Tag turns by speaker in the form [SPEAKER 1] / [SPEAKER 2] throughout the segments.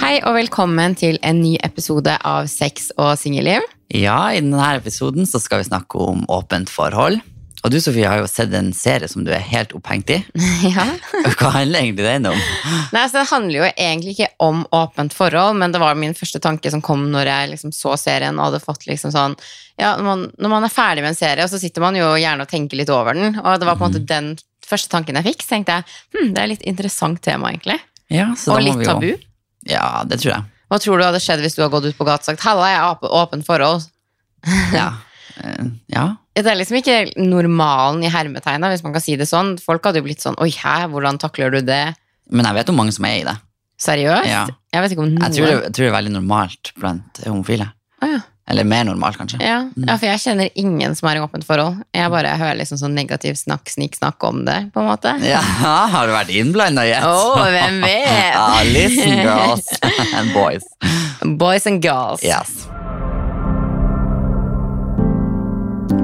[SPEAKER 1] Hei og velkommen til en ny episode av Sex og singelliv.
[SPEAKER 2] Ja, i denne episoden så skal vi snakke om åpent forhold. Og du, Sofie, har jo sett en serie som du er helt opphengt i.
[SPEAKER 1] Ja.
[SPEAKER 2] Hva handler egentlig den om?
[SPEAKER 1] Nei, altså, det handler jo egentlig ikke om åpent forhold, men det var min første tanke som kom når jeg liksom så serien og hadde fått liksom sånn ja, når, man, når man er ferdig med en serie, og så sitter man jo gjerne og tenker litt over den, og det var på en måte
[SPEAKER 2] Mhm.
[SPEAKER 1] den første tanken jeg fikk, så tenkte jeg hm, det er et litt interessant tema, egentlig.
[SPEAKER 2] Ja, så da
[SPEAKER 1] Og
[SPEAKER 2] må
[SPEAKER 1] litt
[SPEAKER 2] vi jo-
[SPEAKER 1] tabu.
[SPEAKER 2] Ja, det tror jeg.
[SPEAKER 1] Hva tror du hadde skjedd hvis du hadde gått ut på gata og sagt 'halla, jeg har åp- åpent forhold'?
[SPEAKER 2] Ja. Eh, ja.
[SPEAKER 1] Det er liksom ikke normalen i hermetegna, hvis man kan si det sånn. Folk hadde jo blitt sånn 'oi, hæ, hvordan takler du det'?
[SPEAKER 2] Men jeg vet om mange som er i det.
[SPEAKER 1] Seriøst?
[SPEAKER 2] Ja.
[SPEAKER 1] Jeg vet ikke om noen
[SPEAKER 2] Jeg tror det, jeg tror det er veldig normalt blant homofile.
[SPEAKER 1] Å, ja.
[SPEAKER 2] Eller mer normalt, kanskje.
[SPEAKER 1] Ja. ja, for jeg kjenner ingen som er i åpent forhold. Jeg bare hører liksom sånn negativ snakk, snikk, snakk om det, på en måte.
[SPEAKER 2] Ja, har du vært innblanda i et?
[SPEAKER 1] Å, hvem vet?
[SPEAKER 2] Ja, listen, girls and boys.
[SPEAKER 1] Boys and girls.
[SPEAKER 2] Yes.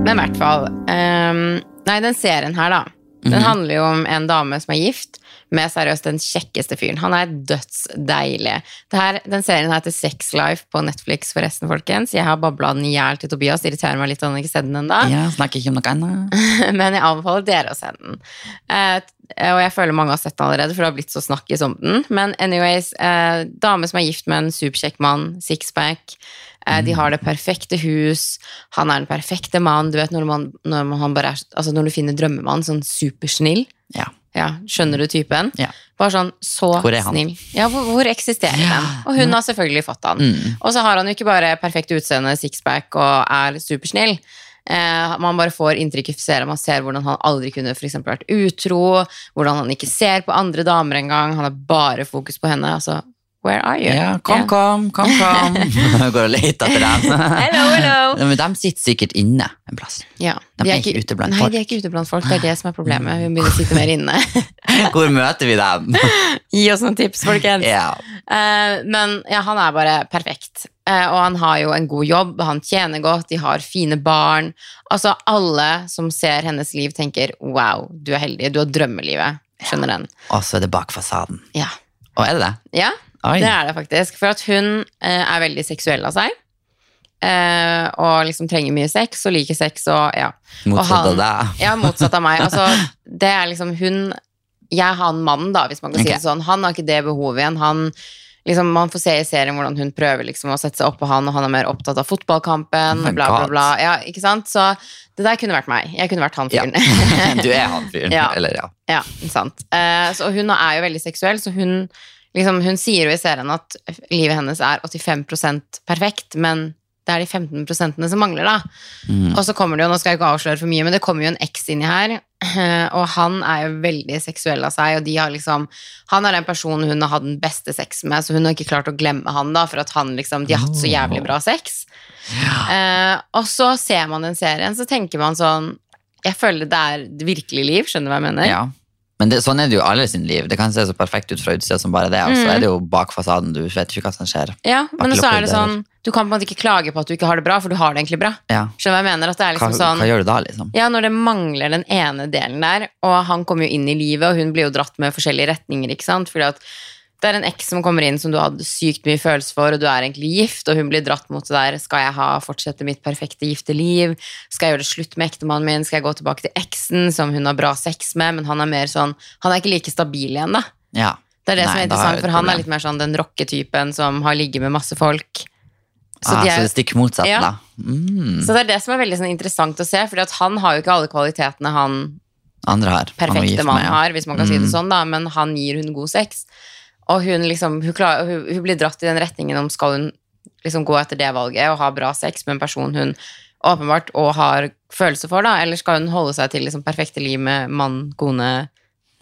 [SPEAKER 1] Men i hvert fall ehm, Nei, den serien her, da. Den handler jo om en dame som er gift med seriøst den kjekkeste fyren. Han er dødsdeilig. Det her, den serien her heter Sex Life på Netflix, forresten, folkens. Jeg har babla den i hjel til Tobias. Det irriterer meg litt at han ikke har sett den ennå.
[SPEAKER 2] Ja, snakker ikke om noe annet.
[SPEAKER 1] Men jeg anbefaler dere å se den. Eh, og jeg føler mange har sett den allerede, for det har blitt så snakkis om den. Men anyways, eh, dame som er gift med en superkjekk mann, sixpack. Eh, de har det perfekte hus, han er den perfekte mann. Du vet når, man, når, man han bare er, altså når du finner drømmemannen, sånn supersnill.
[SPEAKER 2] Ja.
[SPEAKER 1] Ja, skjønner du typen?
[SPEAKER 2] Ja.
[SPEAKER 1] Bare sånn så
[SPEAKER 2] Hvor er han?
[SPEAKER 1] snill. Ja, hvor, hvor eksisterer den? Og hun har selvfølgelig fått han.
[SPEAKER 2] Mm.
[SPEAKER 1] Og så har han jo ikke bare perfekt utseende, sixpack og er supersnill. Eh, man bare får inntrykk av Man ser hvordan han aldri kunne for eksempel vært utro, hvordan han ikke ser på andre damer engang. Han har bare fokus på henne. Altså, where are you?
[SPEAKER 2] Ja, kom, kom, kom, kom. Går og leter etter dem.
[SPEAKER 1] Hello, hello.
[SPEAKER 2] Ja, Men de sitter sikkert inne en plass.
[SPEAKER 1] Ja.
[SPEAKER 2] De er ikke ute blant
[SPEAKER 1] nei,
[SPEAKER 2] folk.
[SPEAKER 1] de er ikke ute blant folk. Det er det som er problemet. Hun begynner å sitte mer inne.
[SPEAKER 2] Hvor møter vi dem?
[SPEAKER 1] Gi oss noen tips, folkens.
[SPEAKER 2] Ja.
[SPEAKER 1] Eh, men ja, han er bare perfekt. Eh, og han har jo en god jobb, han tjener godt, de har fine barn. Altså alle som ser hennes liv, tenker 'wow, du er heldig, du har drømmelivet'. Skjønner den.
[SPEAKER 2] Og så er det bak fasaden.
[SPEAKER 1] Ja.
[SPEAKER 2] Og er det det?
[SPEAKER 1] ja,
[SPEAKER 2] Oi.
[SPEAKER 1] det er det faktisk. For at hun eh, er veldig seksuell av seg. eh, og liksom trenger mye sex og liker sex og ja.
[SPEAKER 2] Motsatt
[SPEAKER 1] og
[SPEAKER 2] av deg.
[SPEAKER 1] Ja, motsatt av meg. Altså, det er liksom hun Jeg har en mann, da, hvis man kan si
[SPEAKER 2] Ok.
[SPEAKER 1] det sånn. Han har ikke det behovet igjen. Han, liksom, man får se i serien hvordan hun prøver liksom, å sette seg oppå han, og han er mer opptatt av fotballkampen,
[SPEAKER 2] Oh my
[SPEAKER 1] bla, bla,
[SPEAKER 2] God.
[SPEAKER 1] bla. Ja, ikke sant? Så det der kunne vært meg. Jeg kunne vært han
[SPEAKER 2] Ja.
[SPEAKER 1] fyren.
[SPEAKER 2] Du er han fyren.
[SPEAKER 1] Ja.
[SPEAKER 2] Eller ja.
[SPEAKER 1] Ja, sant. Eh, så hun er jo veldig seksuell, så hun, liksom, hun sier jo i serien at livet hennes er 85 perfekt, men det er de 15 prosentene som mangler, da.
[SPEAKER 2] Mm.
[SPEAKER 1] Og så kommer det jo, nå skal jeg ikke avsløre for mye, men det kommer jo en eks inni her, Eh, og han er jo veldig seksuell av seg, og de har liksom Han er den personen hun har hatt den beste sex med, så hun har ikke klart å glemme han, da, for at han liksom De har hatt så jævlig bra sex. Eh, og så ser man den serien, så tenker man sånn Jeg føler det er virkelig liv, skjønner du hva jeg mener?
[SPEAKER 2] ja. Men det, sånn er det jo i alle sin liv. Det kan se så perfekt ut fra utsida som bare det, og så
[SPEAKER 1] Mm.
[SPEAKER 2] er det jo bak fasaden. Du vet ikke hva som skjer.
[SPEAKER 1] Ja, men
[SPEAKER 2] Bak
[SPEAKER 1] så er det
[SPEAKER 2] lukkede dører.
[SPEAKER 1] sånn Du kan på en måte ikke klage på at du ikke har det bra, for du har det egentlig bra.
[SPEAKER 2] Ja.
[SPEAKER 1] Skjønner du hva jeg mener? At det er
[SPEAKER 2] Hva,
[SPEAKER 1] liksom sånn
[SPEAKER 2] hva gjør du da, liksom?
[SPEAKER 1] ja, når det mangler den ene delen der, og han kommer jo inn i livet, og hun blir jo dratt med forskjellige retninger, ikke sant? Fordi at det er en eks som kommer inn som du hadde sykt mye følelse for, og du er egentlig gift, og hun blir dratt mot det der, skal jeg ha, fortsette mitt perfekte gifte liv? Skal jeg gjøre det slutt med ektemannen min? Skal jeg gå tilbake til eksen som hun har bra sex med? Men han er mer sånn, han er ikke like stabil igjen da.
[SPEAKER 2] Ja.
[SPEAKER 1] Det er det
[SPEAKER 2] Nei,
[SPEAKER 1] som er
[SPEAKER 2] da
[SPEAKER 1] interessant,
[SPEAKER 2] er det et
[SPEAKER 1] for han er
[SPEAKER 2] problem.
[SPEAKER 1] litt mer sånn den rocketypen som har ligget med masse folk. Så,
[SPEAKER 2] ah,
[SPEAKER 1] de
[SPEAKER 2] så
[SPEAKER 1] er,
[SPEAKER 2] det stikker motsatt,
[SPEAKER 1] Ja.
[SPEAKER 2] da. Mm.
[SPEAKER 1] så det er det som er veldig sånn interessant å se, fordi at han har jo ikke alle kvalitetene han
[SPEAKER 2] Andre har. Han var gift
[SPEAKER 1] perfekte
[SPEAKER 2] med,
[SPEAKER 1] mannen
[SPEAKER 2] ja. Mm.
[SPEAKER 1] har, hvis man kan si det sånn, da, men han gir hun god sex. Og hun liksom, hun, klar, hun, hun blir dratt i den retningen om skal hun liksom gå etter det valget og ha bra sex med en person hun åpenbart og har følelser for, da, eller skal hun holde seg til liksom perfekte liv med mann, kone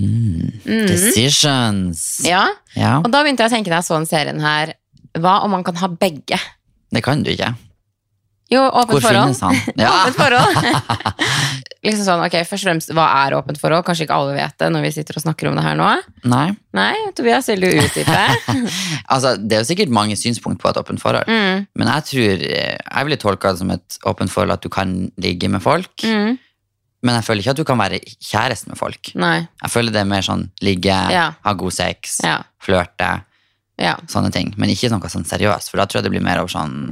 [SPEAKER 2] Mm. Decisions.
[SPEAKER 1] Mm. Ja.
[SPEAKER 2] Ja.
[SPEAKER 1] Og da begynte jeg å tenke da jeg så den serien her, hva om man kan ha begge?
[SPEAKER 2] Det kan du ikke.
[SPEAKER 1] Jo, åpent
[SPEAKER 2] Hvor
[SPEAKER 1] forhold.
[SPEAKER 2] finnes han? Ja.
[SPEAKER 1] Åpent forhold. liksom sånn, ok, Først og fremst, hva er åpent forhold? Kanskje ikke alle vet det når vi sitter og snakker om det her nå.
[SPEAKER 2] Nei.
[SPEAKER 1] Nei, Tobias vil jo utdype.
[SPEAKER 2] Altså, det er jo sikkert mange synspunkt på et åpent forhold,
[SPEAKER 1] Mm,
[SPEAKER 2] men jeg tror eh, Jeg ville tolka det som et åpent forhold at du kan ligge med folk,
[SPEAKER 1] mm,
[SPEAKER 2] men jeg føler ikke at du kan være kjæreste med folk.
[SPEAKER 1] nei.
[SPEAKER 2] Jeg føler det er mer sånn ligge,
[SPEAKER 1] Ja.
[SPEAKER 2] ha god sex,
[SPEAKER 1] Ja.
[SPEAKER 2] flørte,
[SPEAKER 1] Ja.
[SPEAKER 2] Sånne ting. Men ikke noe sånn seriøst, for da tror jeg det blir mer av sånn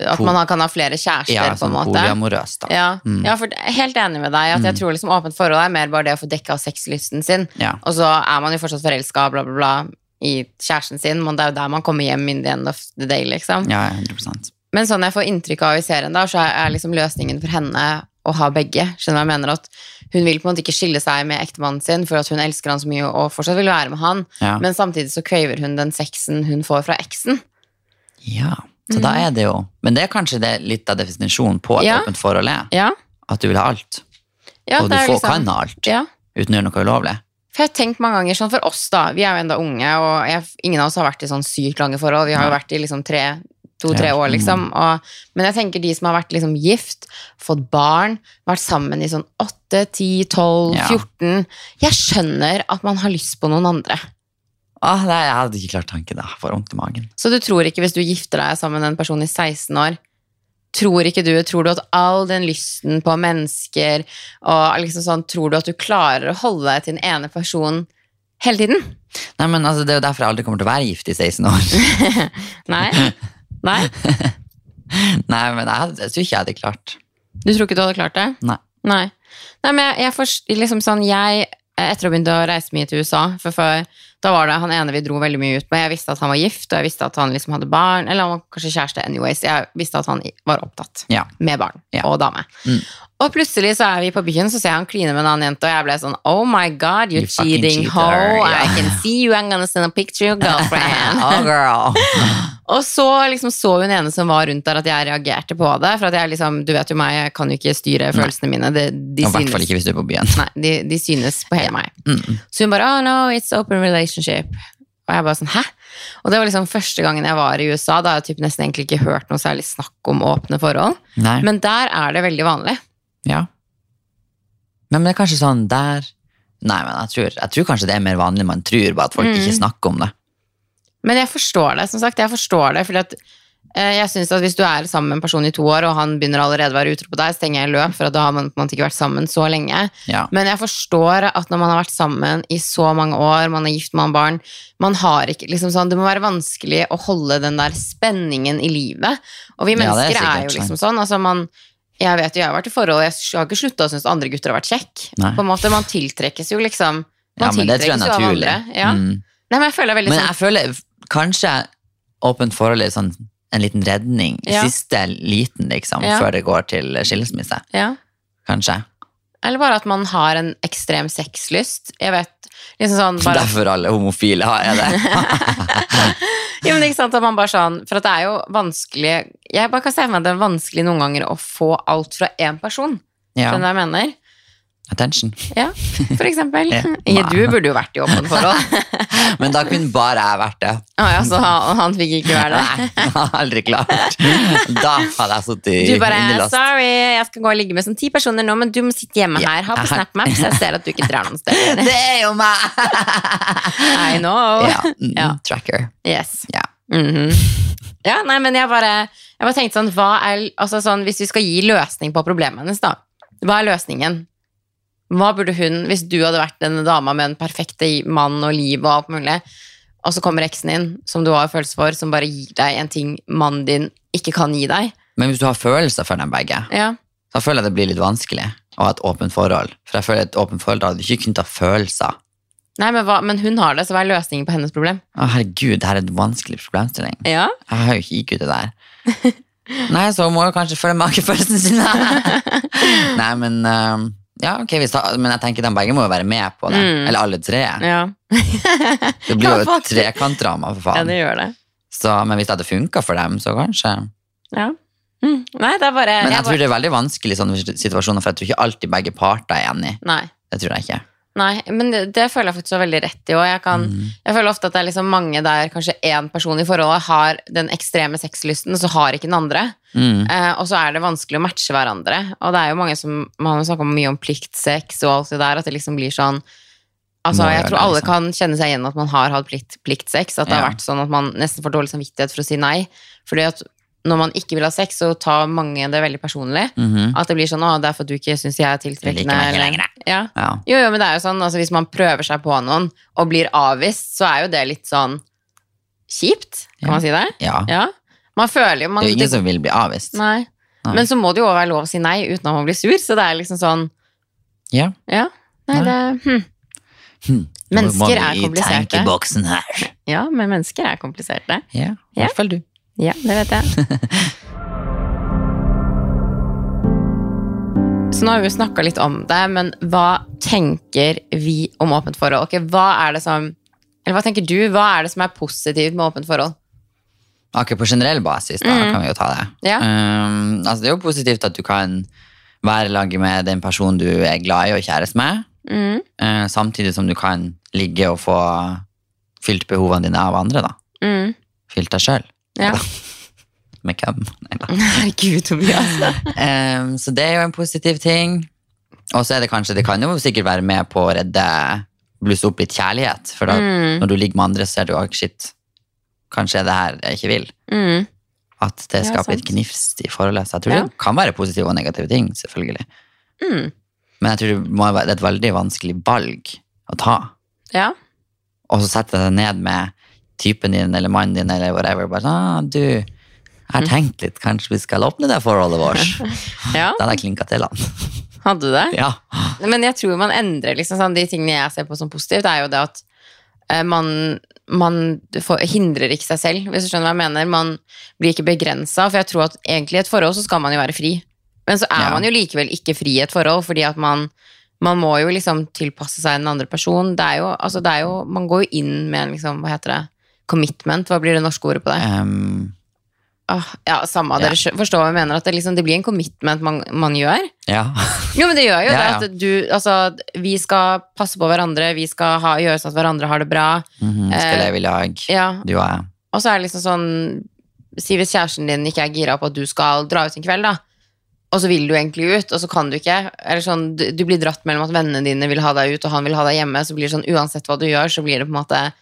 [SPEAKER 1] At man har- kan ha flere kjærester,
[SPEAKER 2] ja,
[SPEAKER 1] på en
[SPEAKER 2] sånn
[SPEAKER 1] måte.
[SPEAKER 2] polyamorøst, da.
[SPEAKER 1] Ja,
[SPEAKER 2] Mm.
[SPEAKER 1] ja for jeg er helt enig med deg. At jeg tror liksom åpent forhold er mer bare det å få dekka sexlysten sin.
[SPEAKER 2] Ja.
[SPEAKER 1] Og så er man jo fortsatt forelska, bla, bla, bla, i kjæresten sin, men det er jo der man kommer hjem in the end of the day, liksom.
[SPEAKER 2] Ja, 100
[SPEAKER 1] Men sånn jeg får inntrykk av i serien, da, så er liksom løsningen for henne å ha begge. Skjønner du hva jeg mener? At hun vil på en måte ikke skille seg med ektemannen sin, for at hun elsker han så mye og fortsatt vil være med han,
[SPEAKER 2] Ja.
[SPEAKER 1] men samtidig så craver hun den sexen hun får fra eksen.
[SPEAKER 2] ja. Så da er det jo Men det er kanskje det, litt av definisjonen på
[SPEAKER 1] Mm.
[SPEAKER 2] et
[SPEAKER 1] Ja.
[SPEAKER 2] åpent forhold er.
[SPEAKER 1] Ja,
[SPEAKER 2] At du vil ha alt.
[SPEAKER 1] ja
[SPEAKER 2] og du
[SPEAKER 1] det er
[SPEAKER 2] får,
[SPEAKER 1] liksom-
[SPEAKER 2] kan ha alt
[SPEAKER 1] Ja.
[SPEAKER 2] uten å gjøre noe ulovlig.
[SPEAKER 1] For jeg har tenkt mange ganger sånn for oss, da. Vi er jo enda unge, og jeg, ingen av oss har vært i sånn sykt lange forhold. Vi har jo vært i liksom tre to-tre
[SPEAKER 2] Ja. Mm.
[SPEAKER 1] år, liksom. Og, men jeg tenker de som har vært liksom gift, fått barn, vært sammen i sånn 8, 10, 12,
[SPEAKER 2] Ja.
[SPEAKER 1] 14 Jeg skjønner at man har lyst på noen andre.
[SPEAKER 2] Ah, nei, jeg hadde ikke klart tanken. da. Jeg får vondt i magen.
[SPEAKER 1] Så du tror ikke, hvis du gifter deg sammen med en person i 16 år Tror ikke du, tror du at all den lysten på mennesker og liksom sånn, Tror du at du klarer å holde deg til den ene personen hele tiden?
[SPEAKER 2] Nei, men altså, Det er jo derfor jeg aldri kommer til å være gift i 16 år.
[SPEAKER 1] Nei? Nei?
[SPEAKER 2] nei, men jeg, hadde- jeg tror ikke jeg hadde klart.
[SPEAKER 1] Du tror ikke du hadde klart det?
[SPEAKER 2] Nei.
[SPEAKER 1] Nei, Nei men jeg, jeg forst- liksom sånn, jeg eh, etter å begynne å reise mye til USA, for før, da var det han ene vi dro veldig mye ut med, jeg visste at han var gift, og jeg visste at han liksom hadde barn, eller han var kanskje kjæreste anyways, jeg visste at han i- var opptatt
[SPEAKER 2] Ja.
[SPEAKER 1] med barn
[SPEAKER 2] Ja.
[SPEAKER 1] og dame.
[SPEAKER 2] Mm.
[SPEAKER 1] Og plutselig så er vi på byen, så ser jeg han kline med en annen jente, og jeg ble sånn, oh my god, you're
[SPEAKER 2] You fucking
[SPEAKER 1] cheating
[SPEAKER 2] cheater,
[SPEAKER 1] hoe,
[SPEAKER 2] ja.
[SPEAKER 1] I can see you, I'm gonna send a picture, girlfriend.
[SPEAKER 2] Oh, girl.
[SPEAKER 1] Og så liksom så hun ene som var rundt der, at jeg reagerte på det. For at jeg liksom, du vet jo meg, jeg kan jo ikke styre følelsene mine. De, de,
[SPEAKER 2] I hvert fall
[SPEAKER 1] synes,
[SPEAKER 2] ikke hvis du er på byen.
[SPEAKER 1] nei, de, de synes på hele meg.
[SPEAKER 2] Mm, mm.
[SPEAKER 1] Så hun bare 'oh no, it's open relationship'. Og jeg bare sånn 'hæ?' Og det var liksom første gangen jeg var i USA. Da har jeg typ nesten egentlig ikke hørt noe særlig snakk om åpne forhold.
[SPEAKER 2] Nei.
[SPEAKER 1] Men der er det veldig vanlig.
[SPEAKER 2] Ja. Men, men det er kanskje sånn der Nei, men jeg tror, jeg tror kanskje det er mer vanlig man tror, bare at folk ikke
[SPEAKER 1] Mm.
[SPEAKER 2] snakker om det.
[SPEAKER 1] Men jeg forstår det, som sagt. Jeg forstår det, fordi at eh, jeg synes at Hvis du er sammen med en person i to år, og han begynner allerede å være utro på deg, så tenker jeg løp, for at da har man på en måte ikke vært sammen så lenge.
[SPEAKER 2] Ja.
[SPEAKER 1] Men jeg forstår at når man har vært sammen i så mange år, man er gift, man har barn man har ikke, liksom sånn, Det må være vanskelig å holde den der spenningen i livet. Og vi
[SPEAKER 2] Ja, det er
[SPEAKER 1] mennesker er,
[SPEAKER 2] sikkert
[SPEAKER 1] jo liksom sånn. altså man, Jeg vet jo, jeg har vært i forhold, jeg har ikke slutta å synes andre gutter har vært kjekk.
[SPEAKER 2] Nei.
[SPEAKER 1] På en måte, Man tiltrekkes jo liksom man
[SPEAKER 2] ja, men det tror jeg er
[SPEAKER 1] tiltrekkes jo av
[SPEAKER 2] naturlig.
[SPEAKER 1] andre, Ja.
[SPEAKER 2] Mm.
[SPEAKER 1] Nei, men jeg føler det er veldig
[SPEAKER 2] Men
[SPEAKER 1] sånn
[SPEAKER 2] jeg føler kanskje åpent forhold er sånn en liten redning.
[SPEAKER 1] Ja.
[SPEAKER 2] Siste liten, liksom,
[SPEAKER 1] Ja.
[SPEAKER 2] før det går til skilsmisse.
[SPEAKER 1] ja.
[SPEAKER 2] Kanskje.
[SPEAKER 1] Eller bare at man har en ekstrem sexlyst. Jeg vet, liksom sånn bare
[SPEAKER 2] Derfor alle homofile har er det.
[SPEAKER 1] Jo, men ikke sant, at man bare sånn, For at det er jo vanskelig Jeg bare kan se for meg at det er vanskelig noen ganger å få alt fra én person.
[SPEAKER 2] ja.
[SPEAKER 1] Skjønner du hva jeg mener?
[SPEAKER 2] Attention.
[SPEAKER 1] Ja, for eksempel.
[SPEAKER 2] Ja.
[SPEAKER 1] Ja, Du burde jo vært i åpent forhold.
[SPEAKER 2] Men da kunne bare jeg vært det.
[SPEAKER 1] Å ja, så han, han fikk ikke være det.
[SPEAKER 2] Nei, jeg har aldri klart. Da hadde jeg sittet i
[SPEAKER 1] Du bare
[SPEAKER 2] innelåst.
[SPEAKER 1] 'sorry, jeg skal gå og ligge med sånn ti personer nå, men du må sitte hjemme
[SPEAKER 2] Ja.
[SPEAKER 1] her'. Ha på SnapMap, så jeg ser at du ikke drar noen steder.
[SPEAKER 2] Det er jo meg!
[SPEAKER 1] I know.
[SPEAKER 2] Ja. mm,
[SPEAKER 1] Ja.
[SPEAKER 2] Tracker.
[SPEAKER 1] Yes.
[SPEAKER 2] Ja.
[SPEAKER 1] Mhm. Ja, nei, men jeg bare, jeg bare tenkte sånn, hva er, altså sånn Hvis vi skal gi løsning på problemet hennes, da. Hva er løsningen? Hva burde hun, hvis du hadde vært denne dama med den perfekte mann og liv og alt mulig, og så kommer eksen din, som du har følelser for, som bare gir deg en ting mannen din ikke kan gi deg?
[SPEAKER 2] Men hvis du har følelser for dem begge,
[SPEAKER 1] Ja.
[SPEAKER 2] da føler jeg det blir litt vanskelig å ha et åpent forhold. For jeg føler et åpent forhold, da hadde du ikke kunnet ha følelser.
[SPEAKER 1] Nei, men, hva, men hun har det, så hva er løsningen på hennes problem?
[SPEAKER 2] Å, herregud, det her er en vanskelig problemstilling.
[SPEAKER 1] Ja.
[SPEAKER 2] Jeg har jo ikke IQ til det der. Nei, så må jo kanskje følge magefølelsen sin. Nei, men eh, Ja, ok, hvis da, men jeg tenker de begge må jo være med på det.
[SPEAKER 1] Mm.
[SPEAKER 2] Eller alle tre.
[SPEAKER 1] Ja,
[SPEAKER 2] Det blir jo
[SPEAKER 1] Ja,
[SPEAKER 2] et
[SPEAKER 1] faktisk.
[SPEAKER 2] trekantdrama, for
[SPEAKER 1] ja
[SPEAKER 2] faen.
[SPEAKER 1] det gjør det.
[SPEAKER 2] Så, men hvis det hadde funka for dem, så kanskje.
[SPEAKER 1] Ja. Mm. Nei, det er bare
[SPEAKER 2] Men jeg
[SPEAKER 1] bare-
[SPEAKER 2] tror det er veldig vanskelig i sånne situasjoner, for jeg tror ikke alltid begge parter er enige.
[SPEAKER 1] Nei.
[SPEAKER 2] Det tror jeg ikke.
[SPEAKER 1] Nei, men det, det føler jeg faktisk så veldig rett i òg. Jeg, kan-
[SPEAKER 2] Mm.
[SPEAKER 1] jeg føler ofte at det er liksom mange der kanskje én person i forholdet har den ekstreme sexlysten, og så har ikke den andre.
[SPEAKER 2] Mm.
[SPEAKER 1] Eh, og så er det vanskelig å matche hverandre. Og det er jo mange som man har jo snakket om mye om pliktsex og alt det der, at det liksom blir sånn Altså,
[SPEAKER 2] Må
[SPEAKER 1] jeg
[SPEAKER 2] gjøre
[SPEAKER 1] tror
[SPEAKER 2] det,
[SPEAKER 1] alle
[SPEAKER 2] liksom.
[SPEAKER 1] kan kjenne seg igjen at man har hatt plikt, pliktsex. At det har
[SPEAKER 2] Ja.
[SPEAKER 1] vært sånn at man nesten får dårlig samvittighet for å si nei. Fordi at når man ikke vil ha sex, så tar mange det veldig personlig.
[SPEAKER 2] Mhm.
[SPEAKER 1] At det blir sånn 'Å, det er for at du ikke syns jeg er
[SPEAKER 2] Jeg liker
[SPEAKER 1] tiltrekkende'.
[SPEAKER 2] meg ikke
[SPEAKER 1] eller-
[SPEAKER 2] lenger,
[SPEAKER 1] ja.
[SPEAKER 2] Ja.
[SPEAKER 1] Jo, jo, men det er jo sånn, altså, hvis man prøver seg på noen og blir avvist, så er jo det litt sånn kjipt, kan
[SPEAKER 2] Ja.
[SPEAKER 1] man si det?
[SPEAKER 2] Ja.
[SPEAKER 1] Ja. Man føler jo man,
[SPEAKER 2] Det er jo ingen som vil bli avvist.
[SPEAKER 1] Nei.
[SPEAKER 2] Nei.
[SPEAKER 1] Men så må det jo også være lov å si nei uten at man blir sur, så det er liksom sånn
[SPEAKER 2] Ja.
[SPEAKER 1] Ja. Nei,
[SPEAKER 2] Nei.
[SPEAKER 1] det hm.
[SPEAKER 2] Hm.
[SPEAKER 1] Mennesker er
[SPEAKER 2] Nå må vi i
[SPEAKER 1] kompliserte.
[SPEAKER 2] tenkeboksen her.
[SPEAKER 1] Ja, men mennesker er kompliserte.
[SPEAKER 2] Ja, i
[SPEAKER 1] Ja.
[SPEAKER 2] hvert fall du.
[SPEAKER 1] Ja, det vet jeg. Så nå har vi jo snakka litt om det, men hva tenker vi om åpent forhold? Ok, hva er det som Eller hva tenker du? Hva er det som er positivt med åpent forhold?
[SPEAKER 2] Akkurat på generell basis, da kan vi jo ta det.
[SPEAKER 1] Mm. Ja.
[SPEAKER 2] Um, altså, det er jo positivt at du kan være i lag med den personen du er glad i og kjæreste med,
[SPEAKER 1] Mm,
[SPEAKER 2] eh, samtidig som du kan ligge og få fylt behovene dine av andre, da.
[SPEAKER 1] mm,
[SPEAKER 2] Fylt deg sjøl.
[SPEAKER 1] ja.
[SPEAKER 2] Med hvem? Nei da.
[SPEAKER 1] Herregud, Tobias.
[SPEAKER 2] Um, så det er jo en positiv ting. Og så er det kanskje, det kan jo sikkert være med på å redde blusse opp litt kjærlighet. For da,
[SPEAKER 1] Mm.
[SPEAKER 2] når du ligger med andre, så ser du at shit, kanskje er det her jeg ikke vil.
[SPEAKER 1] Mm,
[SPEAKER 2] At det
[SPEAKER 1] Ja,
[SPEAKER 2] skaper
[SPEAKER 1] sant.
[SPEAKER 2] litt gnifst i forholdet. Så jeg tror
[SPEAKER 1] Ja.
[SPEAKER 2] det kan være positive og negative ting, selvfølgelig.
[SPEAKER 1] mm,
[SPEAKER 2] Men jeg tror det, må være, det er et veldig vanskelig valg å ta.
[SPEAKER 1] ja.
[SPEAKER 2] Og så setter jeg deg ned med typen din eller mannen din eller whatever. Bare sånn, ah, du, jeg har
[SPEAKER 1] Mm.
[SPEAKER 2] tenkt litt, kanskje vi skal åpne det forholdet vårt.
[SPEAKER 1] ja.
[SPEAKER 2] Da hadde jeg klinka til han.
[SPEAKER 1] Hadde du det?
[SPEAKER 2] Ja.
[SPEAKER 1] Men jeg tror man endrer liksom sånn, De tingene jeg ser på som positivt, er jo det at eh, man, man får, hindrer ikke seg selv, hvis du skjønner hva jeg mener. Man blir ikke begrensa, for jeg tror at egentlig i et forhold så skal man jo være fri. Men så er
[SPEAKER 2] Ja.
[SPEAKER 1] man jo likevel ikke fri i et forhold, fordi at man, man må jo liksom tilpasse seg den andre personen. Det er jo, altså det er jo, man går jo inn med en liksom, hva heter det, commitment, hva blir det norske ordet på det?
[SPEAKER 2] Ehm,
[SPEAKER 1] Åh, ja, samme,
[SPEAKER 2] Ja.
[SPEAKER 1] dere skjø- forstår hva jeg mener, at det, liksom, det blir en commitment man, man gjør.
[SPEAKER 2] ja.
[SPEAKER 1] Jo, men det gjør jo
[SPEAKER 2] Ja, ja.
[SPEAKER 1] det at du Altså, vi skal passe på hverandre, vi skal ha, gjøre sånn at hverandre har det bra.
[SPEAKER 2] Mhm, skal
[SPEAKER 1] Eh,
[SPEAKER 2] leve i lag,
[SPEAKER 1] Ja.
[SPEAKER 2] du og jeg.
[SPEAKER 1] Og så er det liksom sånn Si hvis kjæresten din ikke er gira på at du skal dra ut en kveld, da. Og så vil du egentlig ut, og så kan du ikke. Eller sånn, du, du blir dratt mellom at vennene dine vil ha deg ut, og han vil ha deg hjemme. Så blir det sånn, uansett hva du gjør, så blir det på en måte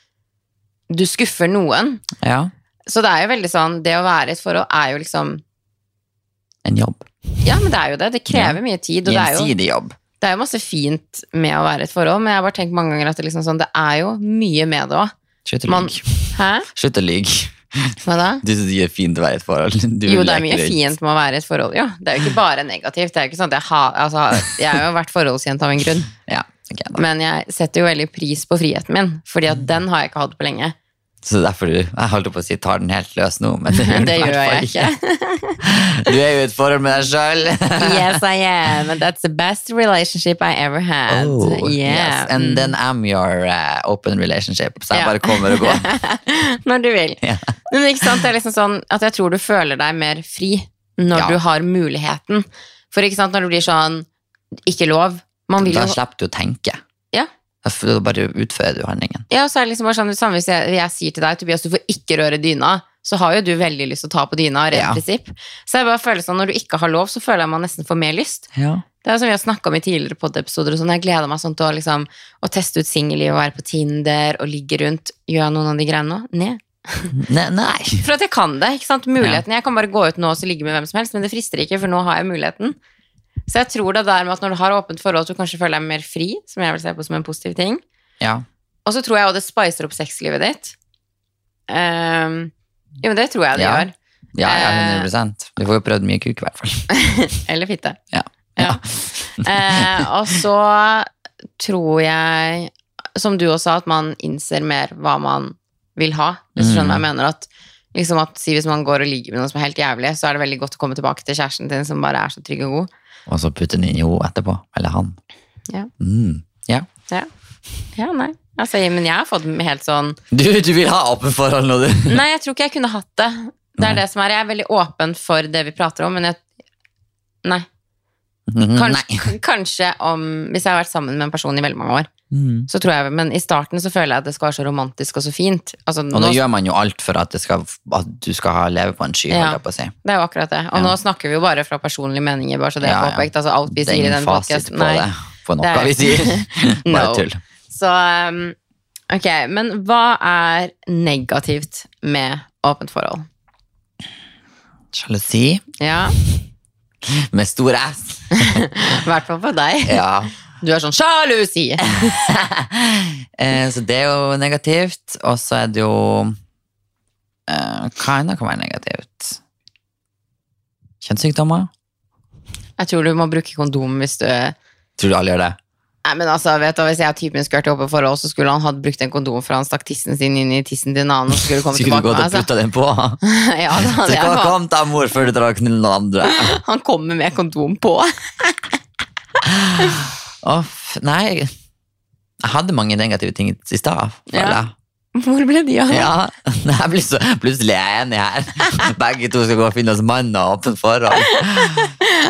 [SPEAKER 1] Du skuffer noen.
[SPEAKER 2] Ja,
[SPEAKER 1] Så det er jo veldig sånn Det å være i et forhold er jo liksom
[SPEAKER 2] en jobb.
[SPEAKER 1] Ja, men det er jo det. Det krever mye tid. Og det er jo,
[SPEAKER 2] Gjensidig jobb.
[SPEAKER 1] det er jo masse fint med å være i et forhold, men jeg har bare tenkt mange ganger at det, liksom sånn, det er jo mye med det òg.
[SPEAKER 2] Slutt å
[SPEAKER 1] Man-
[SPEAKER 2] lyge.
[SPEAKER 1] Hæ?
[SPEAKER 2] Slutt å lyge.
[SPEAKER 1] Hva da?
[SPEAKER 2] Du syns det er fint å være i et forhold. Du
[SPEAKER 1] Jo,
[SPEAKER 2] vil
[SPEAKER 1] det er
[SPEAKER 2] leke
[SPEAKER 1] mye
[SPEAKER 2] rundt.
[SPEAKER 1] fint med å være i et forhold. Jo, det er jo ikke bare negativt. Det er jo ikke sånn at jeg, ha, altså, jeg har jo vært forholdsjente av en grunn,
[SPEAKER 2] Ja, ok, da.
[SPEAKER 1] men jeg setter jo veldig pris på friheten min, fordi at den har jeg ikke hatt på lenge.
[SPEAKER 2] Så derfor du, jeg holdt på å si tar den helt løs nå, men det
[SPEAKER 1] Det
[SPEAKER 2] gjør, du i hvert
[SPEAKER 1] gjør
[SPEAKER 2] fall
[SPEAKER 1] jeg ikke.
[SPEAKER 2] Du er jo i et forhold med deg sjøl.
[SPEAKER 1] Yes, I am, and that's the best relationship I ever had. yeah.
[SPEAKER 2] Oh, yes. And then I'm your uh, open relationship. Så
[SPEAKER 1] mm.
[SPEAKER 2] jeg
[SPEAKER 1] Ja.
[SPEAKER 2] bare kommer og går.
[SPEAKER 1] Når du vil.
[SPEAKER 2] Ja.
[SPEAKER 1] Men ikke sant, det er liksom sånn at jeg tror du føler deg mer fri når
[SPEAKER 2] Ja.
[SPEAKER 1] du har muligheten. For ikke sant, når det blir sånn ikke lov Man vil jo
[SPEAKER 2] Da slipper du å tenke.
[SPEAKER 1] Ja.
[SPEAKER 2] Da f- Da bare utfører du handlingen.
[SPEAKER 1] Ja, så er det liksom bare sånn det samme hvis jeg, jeg sier til deg Tobias, du får ikke røre dyna, så har jo du veldig lyst til å ta på dyna, rent
[SPEAKER 2] Ja.
[SPEAKER 1] prinsipp. Så jeg bare føler sånn, når du ikke har lov, så føler jeg man nesten får mer lyst.
[SPEAKER 2] Ja.
[SPEAKER 1] Det er jo som vi har snakka om i tidligere podiepisoder, og sånn, jeg gleder meg sånn til å, liksom, å teste ut singelliv og være på Tinder og ligge rundt. Gjør jeg noen av de greiene nå? Nei.
[SPEAKER 2] Nei, nei.
[SPEAKER 1] For at jeg kan det, ikke sant? Muligheten. Jeg kan bare gå ut nå og så ligge med hvem som helst, men det frister ikke, for nå har jeg muligheten. Så jeg tror det der med at når du har åpent forhold, at du kanskje føler deg mer fri, som jeg vil se på som en positiv ting.
[SPEAKER 2] Ja.
[SPEAKER 1] Og så tror jeg også det spicer opp sexlivet ditt. Ehm, jo, men det tror jeg det
[SPEAKER 2] Ja.
[SPEAKER 1] gjør.
[SPEAKER 2] Ja, ja,
[SPEAKER 1] Eh.
[SPEAKER 2] 100 Du får jo prøvd mye kuk, i hvert fall.
[SPEAKER 1] Eller fitte.
[SPEAKER 2] Ja.
[SPEAKER 1] Ja. Eh, og så tror jeg, som du også sa, at man innser mer hva man vil ha. Hvis du skjønner hva jeg mener. At, liksom at si Hvis man går og ligger med noen som er helt jævlig, så er det veldig godt å komme tilbake til kjæresten din som bare er så trygg og god.
[SPEAKER 2] Og så putte den inn i henne etterpå. Eller han.
[SPEAKER 1] Ja.
[SPEAKER 2] Mm. ja.
[SPEAKER 1] Ja, ja nei. Altså, men jeg har fått helt sånn
[SPEAKER 2] Du, du vil ha åpent forhold nå, du.
[SPEAKER 1] Nei, jeg tror ikke jeg kunne hatt det. Det er det som er. Jeg er veldig åpen for det vi prater om, men jeg Nei.
[SPEAKER 2] Mhm.
[SPEAKER 1] Kanskje, kanskje om Hvis jeg har vært sammen med en person i veldig mange år,
[SPEAKER 2] Mm.
[SPEAKER 1] så tror jeg Men i starten så føler jeg at det skal være så romantisk og så fint. Altså,
[SPEAKER 2] Og nå
[SPEAKER 1] nå,
[SPEAKER 2] gjør man jo alt for at, det skal, at du skal ha leve på en sky,
[SPEAKER 1] Ja.
[SPEAKER 2] holdt jeg på å si.
[SPEAKER 1] det er jo akkurat det. Og
[SPEAKER 2] Ja.
[SPEAKER 1] nå snakker vi jo bare fra personlige meninger, bare så det er
[SPEAKER 2] Ja, ja.
[SPEAKER 1] påpekt. Altså, alt vi
[SPEAKER 2] Det er
[SPEAKER 1] sier i
[SPEAKER 2] ingen
[SPEAKER 1] den
[SPEAKER 2] fasit
[SPEAKER 1] podkasten.
[SPEAKER 2] på det. På noe
[SPEAKER 1] Det er-
[SPEAKER 2] vi sier. Bare
[SPEAKER 1] No.
[SPEAKER 2] tull.
[SPEAKER 1] Så um, ok, men hva er negativt med åpent forhold?
[SPEAKER 2] Sjalusi
[SPEAKER 1] Ja,
[SPEAKER 2] med stor S.
[SPEAKER 1] i hvert fall for deg.
[SPEAKER 2] Ja.
[SPEAKER 1] Du er sånn sjalusi!
[SPEAKER 2] Eh, så det er jo negativt. Og så er det jo eh, hva annet kan være negativt? Kjønnssykdommer?
[SPEAKER 1] Jeg tror du må bruke kondom hvis du Nei,
[SPEAKER 2] Tror du alle gjør det?
[SPEAKER 1] men altså, vet du, Hvis jeg og typen skulle vært i åpent forhold, så skulle han hatt brukt en kondom for han stakk tissen sin inn i tissen til en annen. Og så skulle det komme
[SPEAKER 2] Skulle du
[SPEAKER 1] tilbake
[SPEAKER 2] gått og
[SPEAKER 1] altså.
[SPEAKER 2] putta den på?
[SPEAKER 1] ja, da
[SPEAKER 2] Så
[SPEAKER 1] hadde jeg
[SPEAKER 2] hva
[SPEAKER 1] faen-
[SPEAKER 2] kom da, mor, før du drar og knuller noen andre?
[SPEAKER 1] Han kommer med kondom på.
[SPEAKER 2] Å, f- nei, jeg hadde mange negative ting i stad, føler
[SPEAKER 1] Ja.
[SPEAKER 2] jeg.
[SPEAKER 1] Hvor ble de av?
[SPEAKER 2] Ja, jeg blir så, plutselig er jeg enig her. Begge to skal gå og finne oss mann og åpne forhold.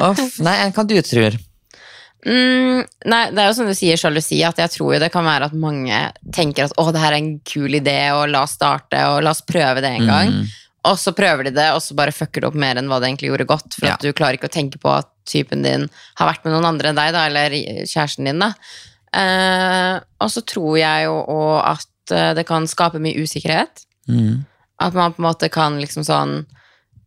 [SPEAKER 2] Uff, nei, hva du tror?
[SPEAKER 1] Mm, nei, det er jo som du sier, sjalusi, at jeg tror jo det kan være at mange tenker at å, det her er en kul idé, og la oss starte, og la oss prøve det en gang.
[SPEAKER 2] Mm.
[SPEAKER 1] Og så prøver de det, og så bare fucker det opp mer enn hva det egentlig gjorde godt. For at du klarer ikke å tenke på at typen din har vært med noen andre enn deg, da, eller kjæresten din, da. Eh, og så tror jeg jo og at eh, det kan skape mye usikkerhet.
[SPEAKER 2] Mm.
[SPEAKER 1] At man på en måte kan liksom sånn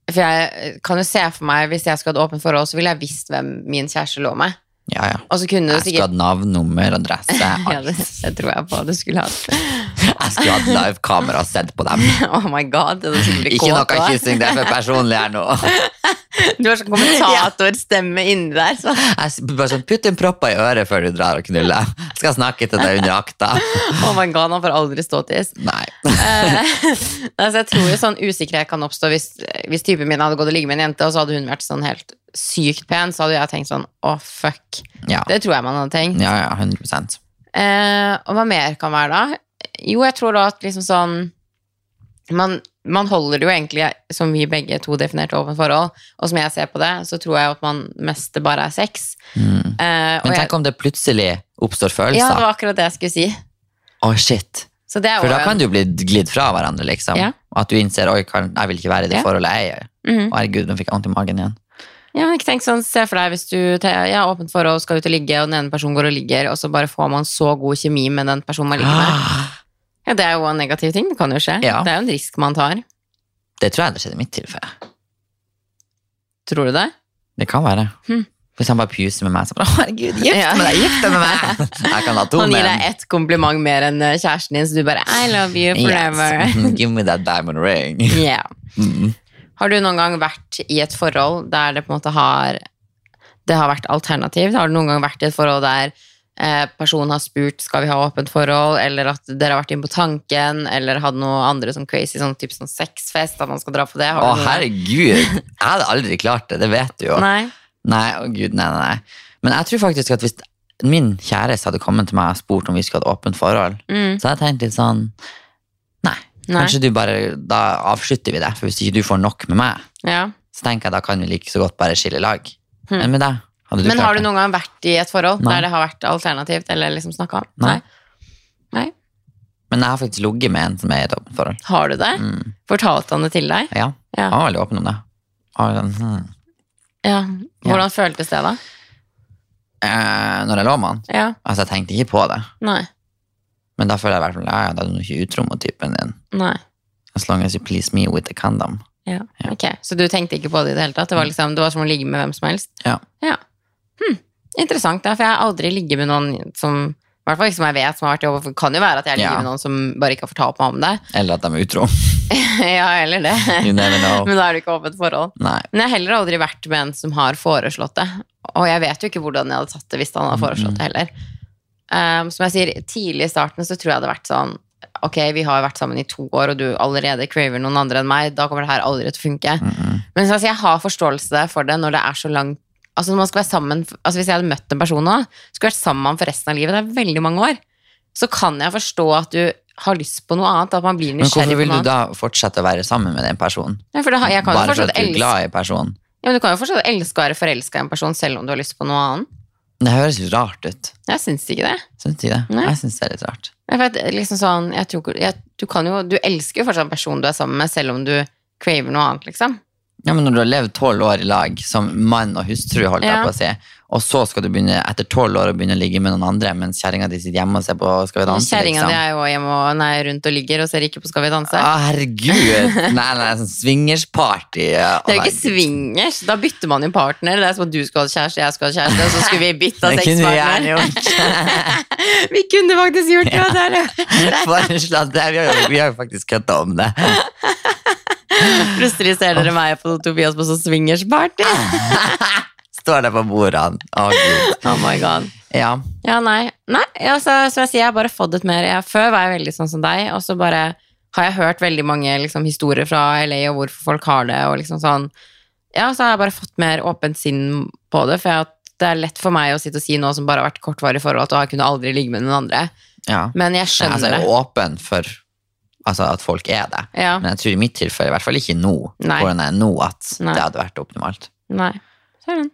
[SPEAKER 1] For jeg kan jo se for meg, hvis jeg skulle hatt åpent forhold, så ville jeg visst hvem min kjæreste lå med.
[SPEAKER 2] Ja, ja.
[SPEAKER 1] Og så kunne det
[SPEAKER 2] Jeg skulle
[SPEAKER 1] sikkert
[SPEAKER 2] hatt navn, nummer, adresse.
[SPEAKER 1] ja,
[SPEAKER 2] alt.
[SPEAKER 1] det, det tror jeg på at du skulle hatt.
[SPEAKER 2] Jeg skulle hatt livekamera og sett på dem.
[SPEAKER 1] Oh my god, det er så blir
[SPEAKER 2] Ikke noe
[SPEAKER 1] kåt av.
[SPEAKER 2] kyssing, det er for personlig her nå.
[SPEAKER 1] Du har sånn kommentatorstemme inni der. Så.
[SPEAKER 2] Jeg s- bare sånn, Putt en propp i øret før du drar og knuller. Jeg skal snakke til deg under akta.
[SPEAKER 1] Oh my god, han får aldri ståtiss.
[SPEAKER 2] Nei.
[SPEAKER 1] Eh, altså jeg tror jo sånn usikkerhet kan oppstå hvis, hvis typen min hadde gått og ligget med en jente, og så hadde hun vært sånn helt sykt pen, så hadde jeg tenkt sånn å, fuck.
[SPEAKER 2] Ja,
[SPEAKER 1] Det tror jeg man hadde tenkt.
[SPEAKER 2] ja, ja 100
[SPEAKER 1] Eh, og hva mer kan være da? Jo, jeg tror da at liksom sånn man, man holder det jo egentlig, som vi begge to definerte åpent forhold, og som jeg ser på det, så tror jeg jo at man mest det bare er sex.
[SPEAKER 2] Mm.
[SPEAKER 1] Eh, og
[SPEAKER 2] Men
[SPEAKER 1] jeg,
[SPEAKER 2] tenk om det plutselig
[SPEAKER 1] ja,
[SPEAKER 2] oppstår
[SPEAKER 1] det
[SPEAKER 2] følelser.
[SPEAKER 1] var akkurat det jeg skulle si.
[SPEAKER 2] Å, shit.
[SPEAKER 1] Så det er
[SPEAKER 2] For
[SPEAKER 1] jo
[SPEAKER 2] da
[SPEAKER 1] en-
[SPEAKER 2] kan du bli glidd fra hverandre, liksom.
[SPEAKER 1] Ja.
[SPEAKER 2] At du innser oi, kan, jeg vil ikke være i det
[SPEAKER 1] Ja.
[SPEAKER 2] forholdet jeg er i.
[SPEAKER 1] Mhm.
[SPEAKER 2] Å, Herregud, nå fikk jeg vondt i magen igjen.
[SPEAKER 1] Ja, men ikke tenk sånn, Se for deg hvis du te- ja, åpent forhold skal ut og ligge, og den ene personen går og ligger, og så bare får man så god kjemi med den personen man ligger med. Ja, Det er jo en negativ ting. Det kan jo skje.
[SPEAKER 2] Ah. Ja.
[SPEAKER 1] Det er jo en risk man tar.
[SPEAKER 2] Det tror jeg hadde skjedd i mitt tilfelle.
[SPEAKER 1] Tror du det?
[SPEAKER 2] Det kan være.
[SPEAKER 1] Hmm.
[SPEAKER 2] Hvis han bare pjuser med meg, så bare å, herregud, gift
[SPEAKER 1] Ja.
[SPEAKER 2] med deg, gift deg med meg! Jeg kan ha to
[SPEAKER 1] Han gir
[SPEAKER 2] menn.
[SPEAKER 1] deg ett kompliment mer enn eh, kjæresten din, så du bare I love you forever.
[SPEAKER 2] Yes. Give me that diamond ring.
[SPEAKER 1] Yeah.
[SPEAKER 2] Mm.
[SPEAKER 1] Har du noen gang vært i et forhold der det på en måte har det har vært alternativt? Har du noen gang vært i et forhold der eh, personen har spurt skal vi ha åpent forhold, eller at dere har vært inne på tanken, eller hadde noe andre sånn crazy, sånn type sånn sexfest, at man skal dra på det? Har du
[SPEAKER 2] Å,
[SPEAKER 1] noen gang-
[SPEAKER 2] herregud! Jeg hadde aldri klart det, det vet du jo.
[SPEAKER 1] Nei.
[SPEAKER 2] Nei, å gud, nei, nei, nei. Men jeg tror faktisk at hvis min kjæreste hadde kommet til meg og spurt om vi skulle ha et åpent forhold,
[SPEAKER 1] Mm.
[SPEAKER 2] så hadde jeg tenkt litt sånn Nei,
[SPEAKER 1] Nei.
[SPEAKER 2] kanskje du bare Da avslutter vi det, for hvis ikke du får nok med meg,
[SPEAKER 1] Ja.
[SPEAKER 2] så tenker jeg da kan vi like så godt bare skille lag.
[SPEAKER 1] Hmm.
[SPEAKER 2] Men med deg, hadde du
[SPEAKER 1] Men
[SPEAKER 2] klart
[SPEAKER 1] har du
[SPEAKER 2] det?
[SPEAKER 1] noen gang vært i et forhold
[SPEAKER 2] Nei.
[SPEAKER 1] der det har vært alternativt, eller liksom snakka om?
[SPEAKER 2] Nei.
[SPEAKER 1] Nei.
[SPEAKER 2] Men jeg har faktisk ligget med en som er i et åpent forhold.
[SPEAKER 1] Har du det?
[SPEAKER 2] Mm.
[SPEAKER 1] Fortalte han det til deg?
[SPEAKER 2] Ja.
[SPEAKER 1] Ja.
[SPEAKER 2] Han var veldig åpen om det. Han var sånn, hmm.
[SPEAKER 1] Ja. Hvordan føltes det, da?
[SPEAKER 2] eh, når jeg lå med han
[SPEAKER 1] Ja.
[SPEAKER 2] Altså, jeg tenkte ikke på det.
[SPEAKER 1] Nei.
[SPEAKER 2] Men da føler jeg i hvert fall ja, ja, da er du nå ikke utro mot typen din.
[SPEAKER 1] Nei.
[SPEAKER 2] As long as you please me with a condom.
[SPEAKER 1] Ja, ok. Så du tenkte ikke på det i det hele tatt? Det var, liksom, det var som å ligge med hvem som helst?
[SPEAKER 2] Ja.
[SPEAKER 1] Hm. Interessant, da, for jeg har aldri ligget med noen som i hvert fall ikke som jeg vet, som har vært i over- kan jo være at jeg ligger
[SPEAKER 2] Ja.
[SPEAKER 1] med noen som bare ikke har fortalt meg om det.
[SPEAKER 2] Eller at de er utro.
[SPEAKER 1] ja, eller det.
[SPEAKER 2] You never know.
[SPEAKER 1] Men da er det ikke åpent forhold.
[SPEAKER 2] Nei.
[SPEAKER 1] Men jeg har heller aldri vært med en som har foreslått det. Og jeg vet jo ikke hvordan jeg hadde tatt det hvis han hadde foreslått det heller. Ehm, som jeg sier, tidlig i starten så tror jeg det hadde vært sånn Ok, vi har vært sammen i to år, og du allerede craver noen andre enn meg. Da kommer det her aldri til å funke.
[SPEAKER 2] Mm-mm.
[SPEAKER 1] Men så, altså, jeg har forståelse for det når det er så langt Altså når man skal være sammen Altså Hvis jeg hadde møtt en person nå, skulle vært sammen med ham for resten av livet, det er veldig mange år, så kan jeg forstå at du har lyst på noe annet. At man blir
[SPEAKER 2] Men hvorfor
[SPEAKER 1] nysgjerrig på
[SPEAKER 2] vil
[SPEAKER 1] noe
[SPEAKER 2] du
[SPEAKER 1] annet.
[SPEAKER 2] da fortsette å være sammen med den personen?
[SPEAKER 1] Ja, for det, har- jeg kan jo
[SPEAKER 2] Bare for
[SPEAKER 1] fortsatt
[SPEAKER 2] at du er
[SPEAKER 1] elske ja,
[SPEAKER 2] glad i personen.
[SPEAKER 1] men Du kan jo fortsatt elske og være forelska i en person selv om du har lyst på noe annet.
[SPEAKER 2] Det høres litt rart ut.
[SPEAKER 1] Jeg syns ikke det.
[SPEAKER 2] Syns de det?
[SPEAKER 1] Nei.
[SPEAKER 2] Jeg syns det er litt rart.
[SPEAKER 1] Jeg vet, liksom sånn, jeg tror, ikke- jeg, du, kan jo, du elsker jo fortsatt en person du er sammen med, selv om du craver noe annet, liksom.
[SPEAKER 2] Ja, men Når du har levd tolv år i lag som mann og hustru, holdt jeg
[SPEAKER 1] Ja.
[SPEAKER 2] på å si, og så skal du begynne etter tolv år å begynne å ligge med noen andre mens kjerringa di sitter hjemme og ser på Skal vi danse?
[SPEAKER 1] Kjerringa
[SPEAKER 2] liksom.
[SPEAKER 1] di er jo hjemme og, nei, rundt og ligger og ser ikke på Skal vi danse.
[SPEAKER 2] Å, herregud! Nei, nei, sånn swingersparty. ja.
[SPEAKER 1] Det er jo ikke
[SPEAKER 2] Å,
[SPEAKER 1] swingers. Da bytter man jo partner. Det er som at du skulle hatt kjæreste, jeg skulle hatt kjæreste, og så skulle vi bytta
[SPEAKER 2] herregud. Det kunne vi gjerne
[SPEAKER 1] altså, sexpartner.
[SPEAKER 2] gjort.
[SPEAKER 1] Vi kunne faktisk gjort det. og det er det.
[SPEAKER 2] Foreslått det. Vi har jo, vi har jo faktisk kødda om det.
[SPEAKER 1] Plutselig ser dere meg på Tobias på sånn swingersparty.
[SPEAKER 2] Står der på bordene. Å, gud.
[SPEAKER 1] Oh my god.
[SPEAKER 2] Ja.
[SPEAKER 1] Ja, nei. nei altså, som jeg sier, jeg har bare fått et mer jeg, Før var jeg veldig sånn som deg, og så bare har jeg hørt veldig mange liksom, historier fra LA og hvorfor folk har det, og liksom sånn Ja, så har jeg bare fått mer åpent sinn på det, for jeg, at det er lett for meg å sitte og si nå som bare har vært kortvarig forhold, at «Å, jeg kunne aldri ligge med noen andre.
[SPEAKER 2] ja.
[SPEAKER 1] Men jeg
[SPEAKER 2] Nei, altså,
[SPEAKER 1] skjønner
[SPEAKER 2] jeg
[SPEAKER 1] det.
[SPEAKER 2] er åpen for altså, at folk er det.
[SPEAKER 1] Ja.
[SPEAKER 2] Men jeg tror i mitt tilfelle, i hvert fall ikke nå,
[SPEAKER 1] Nei.
[SPEAKER 2] hvordan jeg er nå, at
[SPEAKER 1] Nei.
[SPEAKER 2] det hadde vært optimalt.
[SPEAKER 1] Nei. Så er den.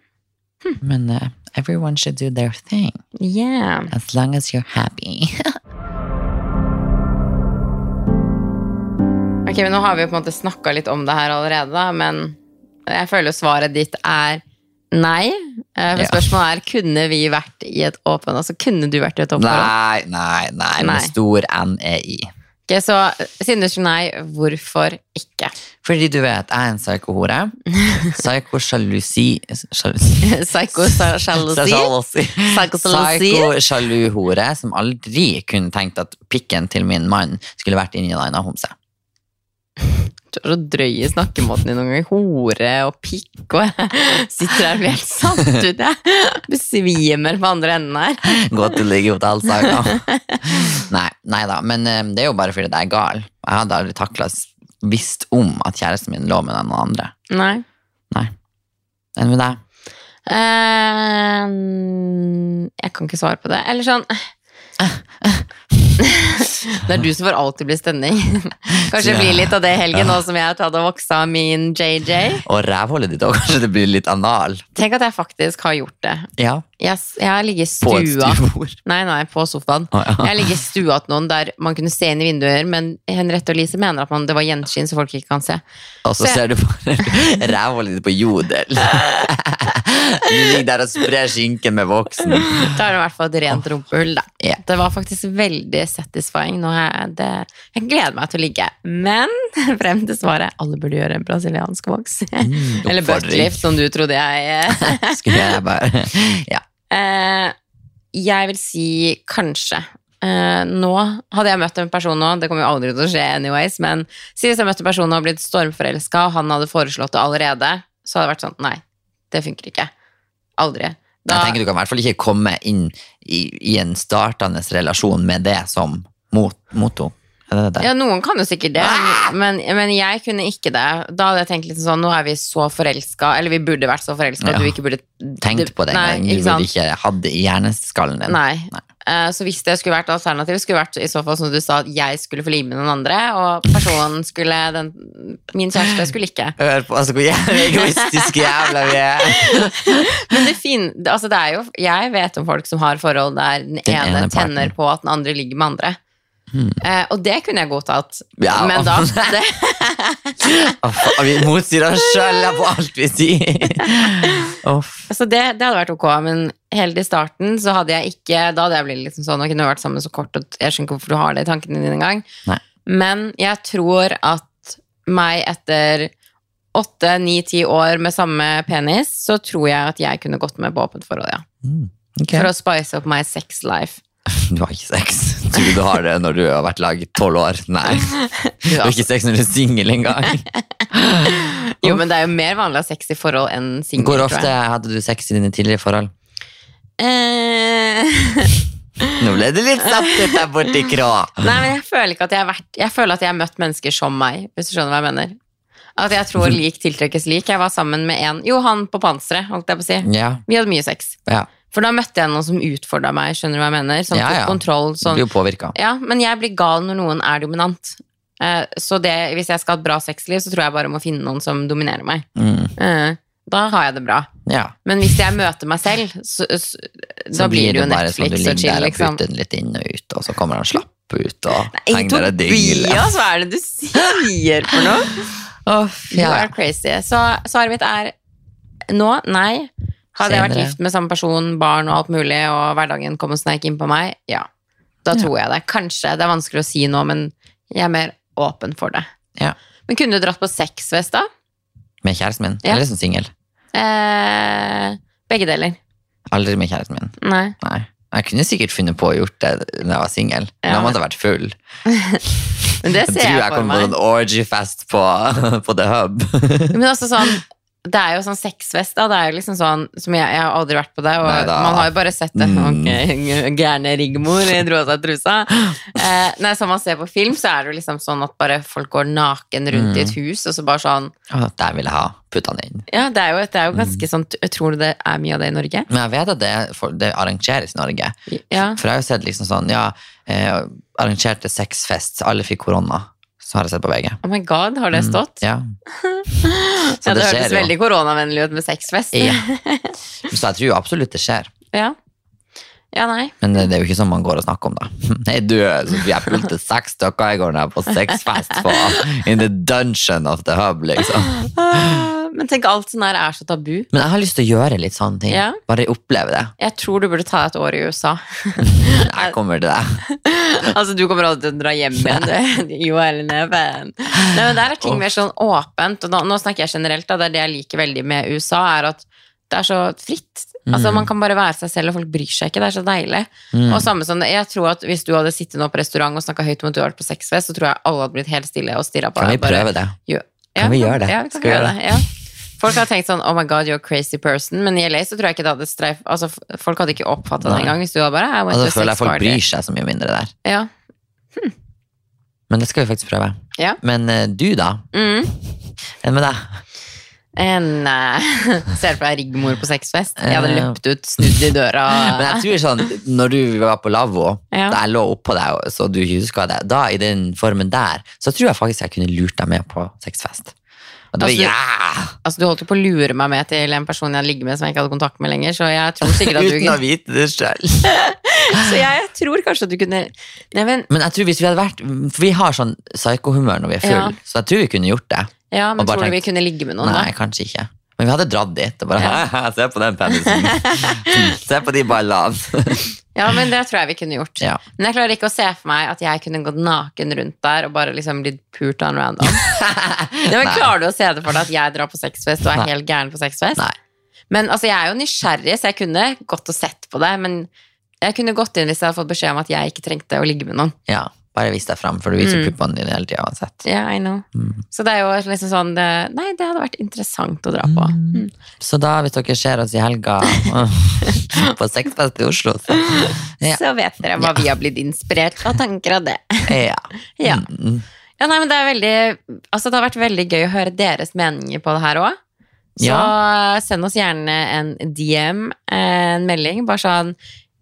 [SPEAKER 2] Men eh, everyone should do their thing,
[SPEAKER 1] Yeah.
[SPEAKER 2] as long as you're happy.
[SPEAKER 1] Ok, men Nå har vi jo på en måte snakka litt om det her allerede, da, men jeg føler jo svaret ditt er nei. Eh, For
[SPEAKER 2] Ja.
[SPEAKER 1] spørsmålet er kunne vi vært i et åpent Altså kunne du vært i et åpent forhold?
[SPEAKER 2] nei, nei, nei,
[SPEAKER 1] Nei.
[SPEAKER 2] med stor E N-E-I.
[SPEAKER 1] Ok, så siden du sier nei, hvorfor ikke?
[SPEAKER 2] Fordi du vet, jeg er en psykohore. Psyko-sjalusi Sjalusi?
[SPEAKER 1] Psycho-sjalusi?
[SPEAKER 2] Sjalusi.
[SPEAKER 1] Psycho-sjalusi?
[SPEAKER 2] Psyko-sjalu-hore som aldri kunne tenkt at pikken til min mann skulle vært inni en annen homse.
[SPEAKER 1] Du er så drøy i snakkemåten din noen ganger. Hore og pikk og jeg sitter her og blir helt satt ut, jeg. Besvimer på andre enden her.
[SPEAKER 2] Godt å ligge i hotellsaga. Nei, nei da, men eh, det er jo bare fordi jeg er gal. Jeg hadde aldri takla visst om at kjæresten min lå med noen andre.
[SPEAKER 1] Nei.
[SPEAKER 2] Nei. Enn med deg?
[SPEAKER 1] Eh, jeg kan ikke svare på det. Eller sånn Det er du som får alltid bli stemning. Kanskje det blir litt av det i helgen, nå som jeg har tatt og voksa min JJ.
[SPEAKER 2] Og rævhullet ditt òg, kanskje det blir litt anal?
[SPEAKER 1] Tenk at jeg faktisk har gjort det.
[SPEAKER 2] Ja,
[SPEAKER 1] Jeg, jeg har ligget i
[SPEAKER 2] på et
[SPEAKER 1] stua
[SPEAKER 2] stuebord.
[SPEAKER 1] Nei, nei, på sofaen.
[SPEAKER 2] Å, ja.
[SPEAKER 1] Jeg ligger i stua til noen der man kunne se inn i vinduer, men Henriette og Lise mener at man, det var gjenskinn, så folk ikke kan se.
[SPEAKER 2] Og så
[SPEAKER 1] Se.
[SPEAKER 2] ser du bare rævhullet ditt på jodel. Du ligger der og sprer skinken med voksen.
[SPEAKER 1] Da er det i hvert fall et rent rumpehull, da.
[SPEAKER 2] Ja.
[SPEAKER 1] Det var faktisk veldig satisfying. Nå har jeg, det, jeg gleder meg til å ligge. Men frem til svaret alle burde gjøre en brasiliansk voks. Eller
[SPEAKER 2] Mm, oppfordring.
[SPEAKER 1] buttlift, som du trodde jeg eh.
[SPEAKER 2] Skulle jeg bare Ja.
[SPEAKER 1] eh, Jeg vil si kanskje. Eh, nå hadde jeg møtt en person nå, det kommer jo aldri til å skje anyways, men si hvis jeg møtte en person og blitt stormforelska, og han hadde foreslått det allerede, så hadde det vært sånn nei, det funker ikke. Aldri. Da-
[SPEAKER 2] Jeg tenker Du kan i hvert fall ikke komme inn i, i en startende relasjon med det som mot, motto. Er det det?
[SPEAKER 1] Ja, noen kan jo sikkert det,
[SPEAKER 2] Ah!
[SPEAKER 1] men, men jeg kunne ikke det. Da hadde jeg tenkt litt sånn, nå er vi så forelska, eller vi burde vært så forelska at
[SPEAKER 2] Ja.
[SPEAKER 1] du ikke burde
[SPEAKER 2] Tenkt på det en
[SPEAKER 1] Nei,
[SPEAKER 2] gang. Du
[SPEAKER 1] ikke
[SPEAKER 2] burde
[SPEAKER 1] sant?
[SPEAKER 2] ikke hatt det i hjerneskallen din.
[SPEAKER 1] Nei.
[SPEAKER 2] Nei.
[SPEAKER 1] Eh, Så hvis det skulle vært alternativ, skulle vært i så fall som du sa, at jeg skulle få live med noen andre, og personen skulle den, Min kjæreste skulle ikke.
[SPEAKER 2] Hør på altså, hvor jævlig egoistiske jævla vi er.
[SPEAKER 1] Men det, fin, det- altså det er jo Jeg vet om folk som har forhold der den, ene,
[SPEAKER 2] ene parten. Hmm.
[SPEAKER 1] tenner på at den andre ligger med andre. Eh, og det kunne jeg godtatt,
[SPEAKER 2] Ja.
[SPEAKER 1] men da det,
[SPEAKER 2] Å, faen, Vi motsier oss sjøl på alt vi sier. Uff.
[SPEAKER 1] Så det, det hadde vært ok, men helt i starten så hadde jeg ikke Da hadde jeg blitt liksom sånn, ok, nå har vi vært sammen så kort, og jeg skjønner ikke hvorfor du har det i tankene dine engang.
[SPEAKER 2] Nei.
[SPEAKER 1] Men jeg tror at meg etter åtte, ni, ti år med samme penis, så tror jeg at jeg kunne gått med på åpent forhold, ja.
[SPEAKER 2] Mm, ok.
[SPEAKER 1] For å spice opp my sex life.
[SPEAKER 2] Du har ikke sex. Tror du du har det når du har vært lag i tolv år? Nei. Du har ikke sex når du er singel engang.
[SPEAKER 1] Jo, men det er jo mer vanlig å ha sex i forhold enn singel.
[SPEAKER 2] Hvor
[SPEAKER 1] tror
[SPEAKER 2] ofte
[SPEAKER 1] jeg.
[SPEAKER 2] hadde du sex i dine tidligere forhold?
[SPEAKER 1] Eh,
[SPEAKER 2] Nå ble det litt satt ut der borte i krå.
[SPEAKER 1] Nei, men jeg føler ikke at jeg har vært Jeg føler at jeg har møtt mennesker som meg, hvis du skjønner hva jeg mener. At jeg tror lik tiltrekkes lik. Jeg var sammen med en Jo, han på panseret, holdt jeg på å si.
[SPEAKER 2] Ja,
[SPEAKER 1] Vi hadde mye sex.
[SPEAKER 2] ja.
[SPEAKER 1] For da møtte jeg noen som utfordra meg, skjønner du hva jeg mener? Sånn
[SPEAKER 2] Ja,
[SPEAKER 1] tok
[SPEAKER 2] ja.
[SPEAKER 1] kontroll,
[SPEAKER 2] Du
[SPEAKER 1] sånn
[SPEAKER 2] blir jo påvirka.
[SPEAKER 1] Ja, men jeg blir gal når noen er dominant. Eh, Så det, hvis jeg skal ha et bra sexliv, så tror jeg bare må finne noen som dominerer meg.
[SPEAKER 2] Mm.
[SPEAKER 1] Eh, Da har jeg det bra.
[SPEAKER 2] Ja.
[SPEAKER 1] Men hvis jeg møter meg selv, så, så, da
[SPEAKER 2] Så
[SPEAKER 1] blir det jo
[SPEAKER 2] bare sånn du
[SPEAKER 1] Netflix og
[SPEAKER 2] ligger
[SPEAKER 1] chill,
[SPEAKER 2] der og
[SPEAKER 1] liksom.
[SPEAKER 2] putter den litt inn og ut, og så kommer han slapp ut og
[SPEAKER 1] Nei,
[SPEAKER 2] henger der og dingler.
[SPEAKER 1] Tobias, hva er det du sier for noe?
[SPEAKER 2] Å,
[SPEAKER 1] You
[SPEAKER 2] ja.
[SPEAKER 1] are crazy. Så svaret mitt er nå, nei. Hadde jeg vært
[SPEAKER 2] Senere.
[SPEAKER 1] gift med samme person, barn og alt mulig, og hverdagen kom og sneik inn på meg, ja. Da tror jeg det. Kanskje. Det er vanskelig å si nå, men jeg er mer åpen for det.
[SPEAKER 2] Ja.
[SPEAKER 1] Men kunne du dratt på sexfest, da?
[SPEAKER 2] Med kjæresten min.
[SPEAKER 1] Ja.
[SPEAKER 2] Eller som singel.
[SPEAKER 1] Eh, begge deler.
[SPEAKER 2] Aldri med kjæresten min.
[SPEAKER 1] Nei.
[SPEAKER 2] Nei. Jeg kunne sikkert funnet på å gjort det når jeg var singel. men
[SPEAKER 1] Ja.
[SPEAKER 2] Da måtte jeg vært full.
[SPEAKER 1] Men det
[SPEAKER 2] Jeg
[SPEAKER 1] ser
[SPEAKER 2] tror
[SPEAKER 1] jeg,
[SPEAKER 2] jeg
[SPEAKER 1] for
[SPEAKER 2] kommer på
[SPEAKER 1] meg.
[SPEAKER 2] en orgy-fest på, på The Hub.
[SPEAKER 1] Men også sånn, det er jo sånn sexfest, da. Det er jo liksom sånn som jeg, jeg har aldri vært på det, og
[SPEAKER 2] Neida.
[SPEAKER 1] man har jo bare sett det.
[SPEAKER 2] Mm.
[SPEAKER 1] Ok, gærne Rigmor dro av seg trusa. Eh, nei, som man ser på film, så er det jo liksom sånn at bare folk går naken rundt i
[SPEAKER 2] Mm.
[SPEAKER 1] et hus, og så bare sånn
[SPEAKER 2] Å, Der vil jeg ha putta den inn.
[SPEAKER 1] Ja, det er jo, det er jo
[SPEAKER 2] Mm.
[SPEAKER 1] ganske sånn Tror du det er mye av det i Norge?
[SPEAKER 2] Men jeg vet at det, for, det arrangeres i Norge.
[SPEAKER 1] Ja.
[SPEAKER 2] For jeg har jo sett liksom sånn, ja, eh, arrangerte sexfest, alle fikk korona. Så har jeg sett på VG.
[SPEAKER 1] Oh my god, har det stått?
[SPEAKER 2] Ja.
[SPEAKER 1] Ja, det,
[SPEAKER 2] Mm. skjer
[SPEAKER 1] hørtes
[SPEAKER 2] jo.
[SPEAKER 1] veldig koronavennlig ut med sexfest.
[SPEAKER 2] Ja. Så jeg tror jo absolutt det skjer.
[SPEAKER 1] Ja. Ja, nei.
[SPEAKER 2] Men det er jo ikke sånn man går og snakker om det. Nei, du, Sofie, jeg pulte seks stykker i går når jeg var på sexfest på, in the dungeon of the hub, liksom.
[SPEAKER 1] Ah, Men tenk, alt sånn her er så tabu.
[SPEAKER 2] Men jeg har lyst til å gjøre litt sånne ting.
[SPEAKER 1] Ja.
[SPEAKER 2] Bare oppleve det.
[SPEAKER 1] Jeg tror du burde ta et år i USA.
[SPEAKER 2] Jeg kommer til det.
[SPEAKER 1] Altså, du kommer aldri til å dra hjem igjen, du. Jo, eller neven. Nei, men der er ting mer sånn åpent, og da, nå snakker jeg generelt, da, det er det jeg liker veldig med USA, er at det er så fritt. Altså,
[SPEAKER 2] Mm.
[SPEAKER 1] man kan bare være seg selv, og folk bryr seg ikke, det er så deilig. Og samme som, det- jeg tror at hvis du hadde sittet nå på restaurant og snakket høyt om at du har vært på sexfest, så tror jeg alle hadde blitt helt stille og stirret på
[SPEAKER 2] Kan vi
[SPEAKER 1] deg. bare-
[SPEAKER 2] prøve det?
[SPEAKER 1] Jo-
[SPEAKER 2] Kan vi gjøre det?
[SPEAKER 1] Ja, vi kan
[SPEAKER 2] Skal vi
[SPEAKER 1] gjøre
[SPEAKER 2] gjøre
[SPEAKER 1] det. Ja. Folk har tenkt sånn Oh my god, you're a crazy person. Men i LA så tror jeg ikke det hadde streif Altså, f- folk hadde ikke oppfatta det
[SPEAKER 2] Nei.
[SPEAKER 1] engang hvis du hadde bare I went to a
[SPEAKER 2] Og da føler
[SPEAKER 1] sex
[SPEAKER 2] jeg folk
[SPEAKER 1] party.
[SPEAKER 2] bryr seg så mye mindre der.
[SPEAKER 1] Ja.
[SPEAKER 2] Men det skal vi faktisk prøve.
[SPEAKER 1] Ja.
[SPEAKER 2] Men eh, du da?
[SPEAKER 1] Mm.
[SPEAKER 2] Enn med deg?
[SPEAKER 1] Eh, Nei. Ser du for deg Rigmor på sexfest? Jeg hadde
[SPEAKER 2] Eh.
[SPEAKER 1] løpt ut, snudd i døra.
[SPEAKER 2] Men jeg tror sånn, når du var på lavvo,
[SPEAKER 1] Ja.
[SPEAKER 2] da jeg lå oppå deg, og så du ikke huska det, da i den formen der, så tror jeg faktisk jeg kunne lurt deg med på sexfest. Og da,
[SPEAKER 1] Altså,
[SPEAKER 2] ja!
[SPEAKER 1] Altså, du holdt jo på å lure meg med til en person jeg hadde ligget med som jeg ikke hadde kontakt med lenger, så jeg tror sikkert at
[SPEAKER 2] Uten å
[SPEAKER 1] du
[SPEAKER 2] vite det sjøl.
[SPEAKER 1] Så jeg tror kanskje at du kunne Nei, men,
[SPEAKER 2] Men jeg tror hvis vi hadde vært For vi har sånn psykohumør når vi er
[SPEAKER 1] Ja.
[SPEAKER 2] full, så jeg tror vi kunne gjort det.
[SPEAKER 1] ja, men
[SPEAKER 2] Og bare
[SPEAKER 1] tror du vi
[SPEAKER 2] tenkt-
[SPEAKER 1] kunne ligge med noen,
[SPEAKER 2] Nei, kanskje ikke. Men vi hadde dratt dit og bare Se på den penisen. Se på de ballene.
[SPEAKER 1] da? Ja, men det tror jeg vi kunne gjort.
[SPEAKER 2] ja.
[SPEAKER 1] Men jeg klarer ikke å se for meg at jeg kunne gått naken rundt der og bare liksom blitt pult on random. Nei, men
[SPEAKER 2] Nei.
[SPEAKER 1] Klarer du å se det for deg at jeg drar på sexfest og er
[SPEAKER 2] Nei.
[SPEAKER 1] helt gæren på sexfest?
[SPEAKER 2] Nei.
[SPEAKER 1] Men altså, jeg er jo nysgjerrig, så jeg kunne gått og sett på det. Men jeg kunne gått inn hvis jeg hadde fått beskjed om at jeg ikke trengte å ligge med noen.
[SPEAKER 2] ja. Bare vis deg fram, for du viser
[SPEAKER 1] Mm.
[SPEAKER 2] puppene dine hele tida uansett.
[SPEAKER 1] Ja, I know.
[SPEAKER 2] Mm.
[SPEAKER 1] Så det er jo liksom sånn det, Nei, det hadde vært interessant å dra på. Mm.
[SPEAKER 2] Så da, hvis dere ser oss i helga på sexfest i Oslo, så ja.
[SPEAKER 1] Så vet dere hva vi har blitt inspirert av tanker av det.
[SPEAKER 2] ja.
[SPEAKER 1] Ja.
[SPEAKER 2] Mm, mm.
[SPEAKER 1] Ja, nei, men det, er veldig, altså det har vært veldig gøy å høre deres meninger på det her òg. Så send oss gjerne en DM, en melding. Bare sånn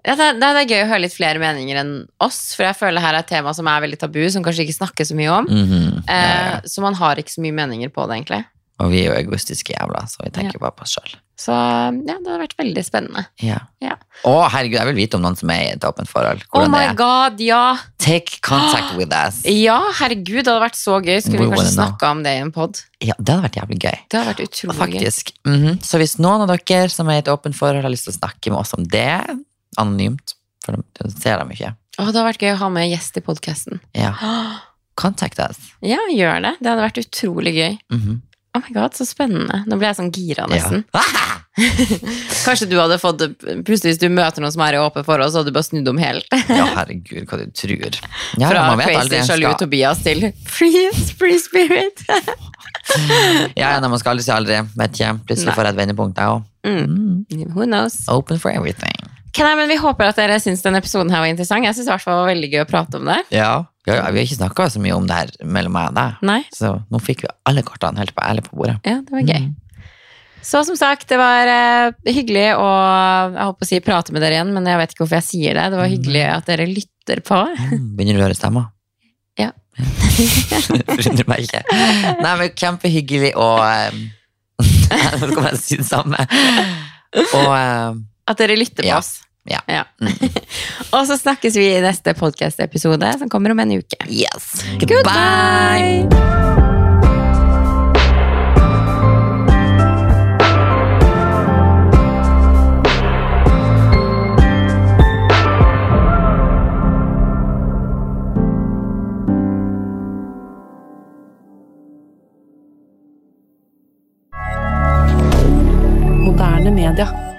[SPEAKER 1] ja, det, er- det er gøy å høre litt flere meninger enn oss, for jeg føler det her er et tema som er veldig tabu, som kanskje ikke snakkes så mye om.
[SPEAKER 2] Mhm. Ja, ja, ja.
[SPEAKER 1] Eh, så man har ikke så mye meninger på det, egentlig.
[SPEAKER 2] Og vi er jo egoistiske jævla, så vi tenker bare på oss sjøl.
[SPEAKER 1] Så ja, det har vært veldig spennende.
[SPEAKER 2] Ja.
[SPEAKER 1] Ja.
[SPEAKER 2] Å, herregud, jeg vil vite om noen som er i et åpent forhold.
[SPEAKER 1] Oh
[SPEAKER 2] Hvordan det
[SPEAKER 1] my
[SPEAKER 2] er.
[SPEAKER 1] god, ja!
[SPEAKER 2] Take contact with us.
[SPEAKER 1] Ja, herregud, det hadde vært så gøy. Skulle
[SPEAKER 2] We
[SPEAKER 1] vi kanskje
[SPEAKER 2] wanna know.
[SPEAKER 1] snakka om det i en pod?
[SPEAKER 2] Ja, det hadde vært jævlig gøy.
[SPEAKER 1] Det hadde vært utrolig gøy.
[SPEAKER 2] Faktisk. Mhm. Så hvis noen av dere som er i et åpent forhold, har lyst til å snakke med oss om det, anonymt, for de ser dem ikke,
[SPEAKER 1] Å, det hadde vært gøy å ha med gjest i podkasten.
[SPEAKER 2] ja, contact us.
[SPEAKER 1] Ja, gjør det. Det hadde vært utrolig gøy.
[SPEAKER 2] Mhm.
[SPEAKER 1] Oh my god, Så spennende. Nå ble jeg sånn gira nesten.
[SPEAKER 2] Ja. Ah!
[SPEAKER 1] Kanskje du hadde fått Plutselig hvis du møter noen som er i åpent forhold, så hadde du bare snudd om helt.
[SPEAKER 2] Ja, herregud, hva du tror. Ja,
[SPEAKER 1] Fra
[SPEAKER 2] man vet aldri
[SPEAKER 1] crazy
[SPEAKER 2] en
[SPEAKER 1] sjalu
[SPEAKER 2] skal.
[SPEAKER 1] Tobias til free, free spirit.
[SPEAKER 2] Ja, ja, nei, man skal aldri si aldri. Vet ikke. Plutselig
[SPEAKER 1] Nei.
[SPEAKER 2] får jeg et vendepunkt, jeg òg.
[SPEAKER 1] Mm.
[SPEAKER 2] Mm.
[SPEAKER 1] Who knows?
[SPEAKER 2] Open for everything.
[SPEAKER 1] Ok, nei, men Vi håper at dere syns denne episoden her var interessant. Jeg syns det var veldig gøy å prate om det.
[SPEAKER 2] Ja. ja, ja, Vi har ikke snakka så mye om det her mellom meg og deg,
[SPEAKER 1] Nei,
[SPEAKER 2] så nå fikk vi alle kortene helt på ærlig på bordet.
[SPEAKER 1] ja, det var gøy.
[SPEAKER 2] Mm.
[SPEAKER 1] Så som sagt, det var eh, hyggelig å jeg holdt på å si prate med dere igjen, men jeg vet ikke hvorfor jeg sier det. Det var hyggelig at dere lytter på.
[SPEAKER 2] Mm. Begynner du å høre stemma?
[SPEAKER 1] Ja.
[SPEAKER 2] Forundrer meg ikke. Nei, men kjempehyggelig og um, Nå skal jeg si det samme. Og um,
[SPEAKER 1] At dere lytter på
[SPEAKER 2] Ja.
[SPEAKER 1] oss.
[SPEAKER 2] Ja. Mm.
[SPEAKER 1] Og så snakkes vi i neste podkast-episode, som kommer om en uke.
[SPEAKER 2] yes.
[SPEAKER 1] Goodbye!
[SPEAKER 3] Moderne media.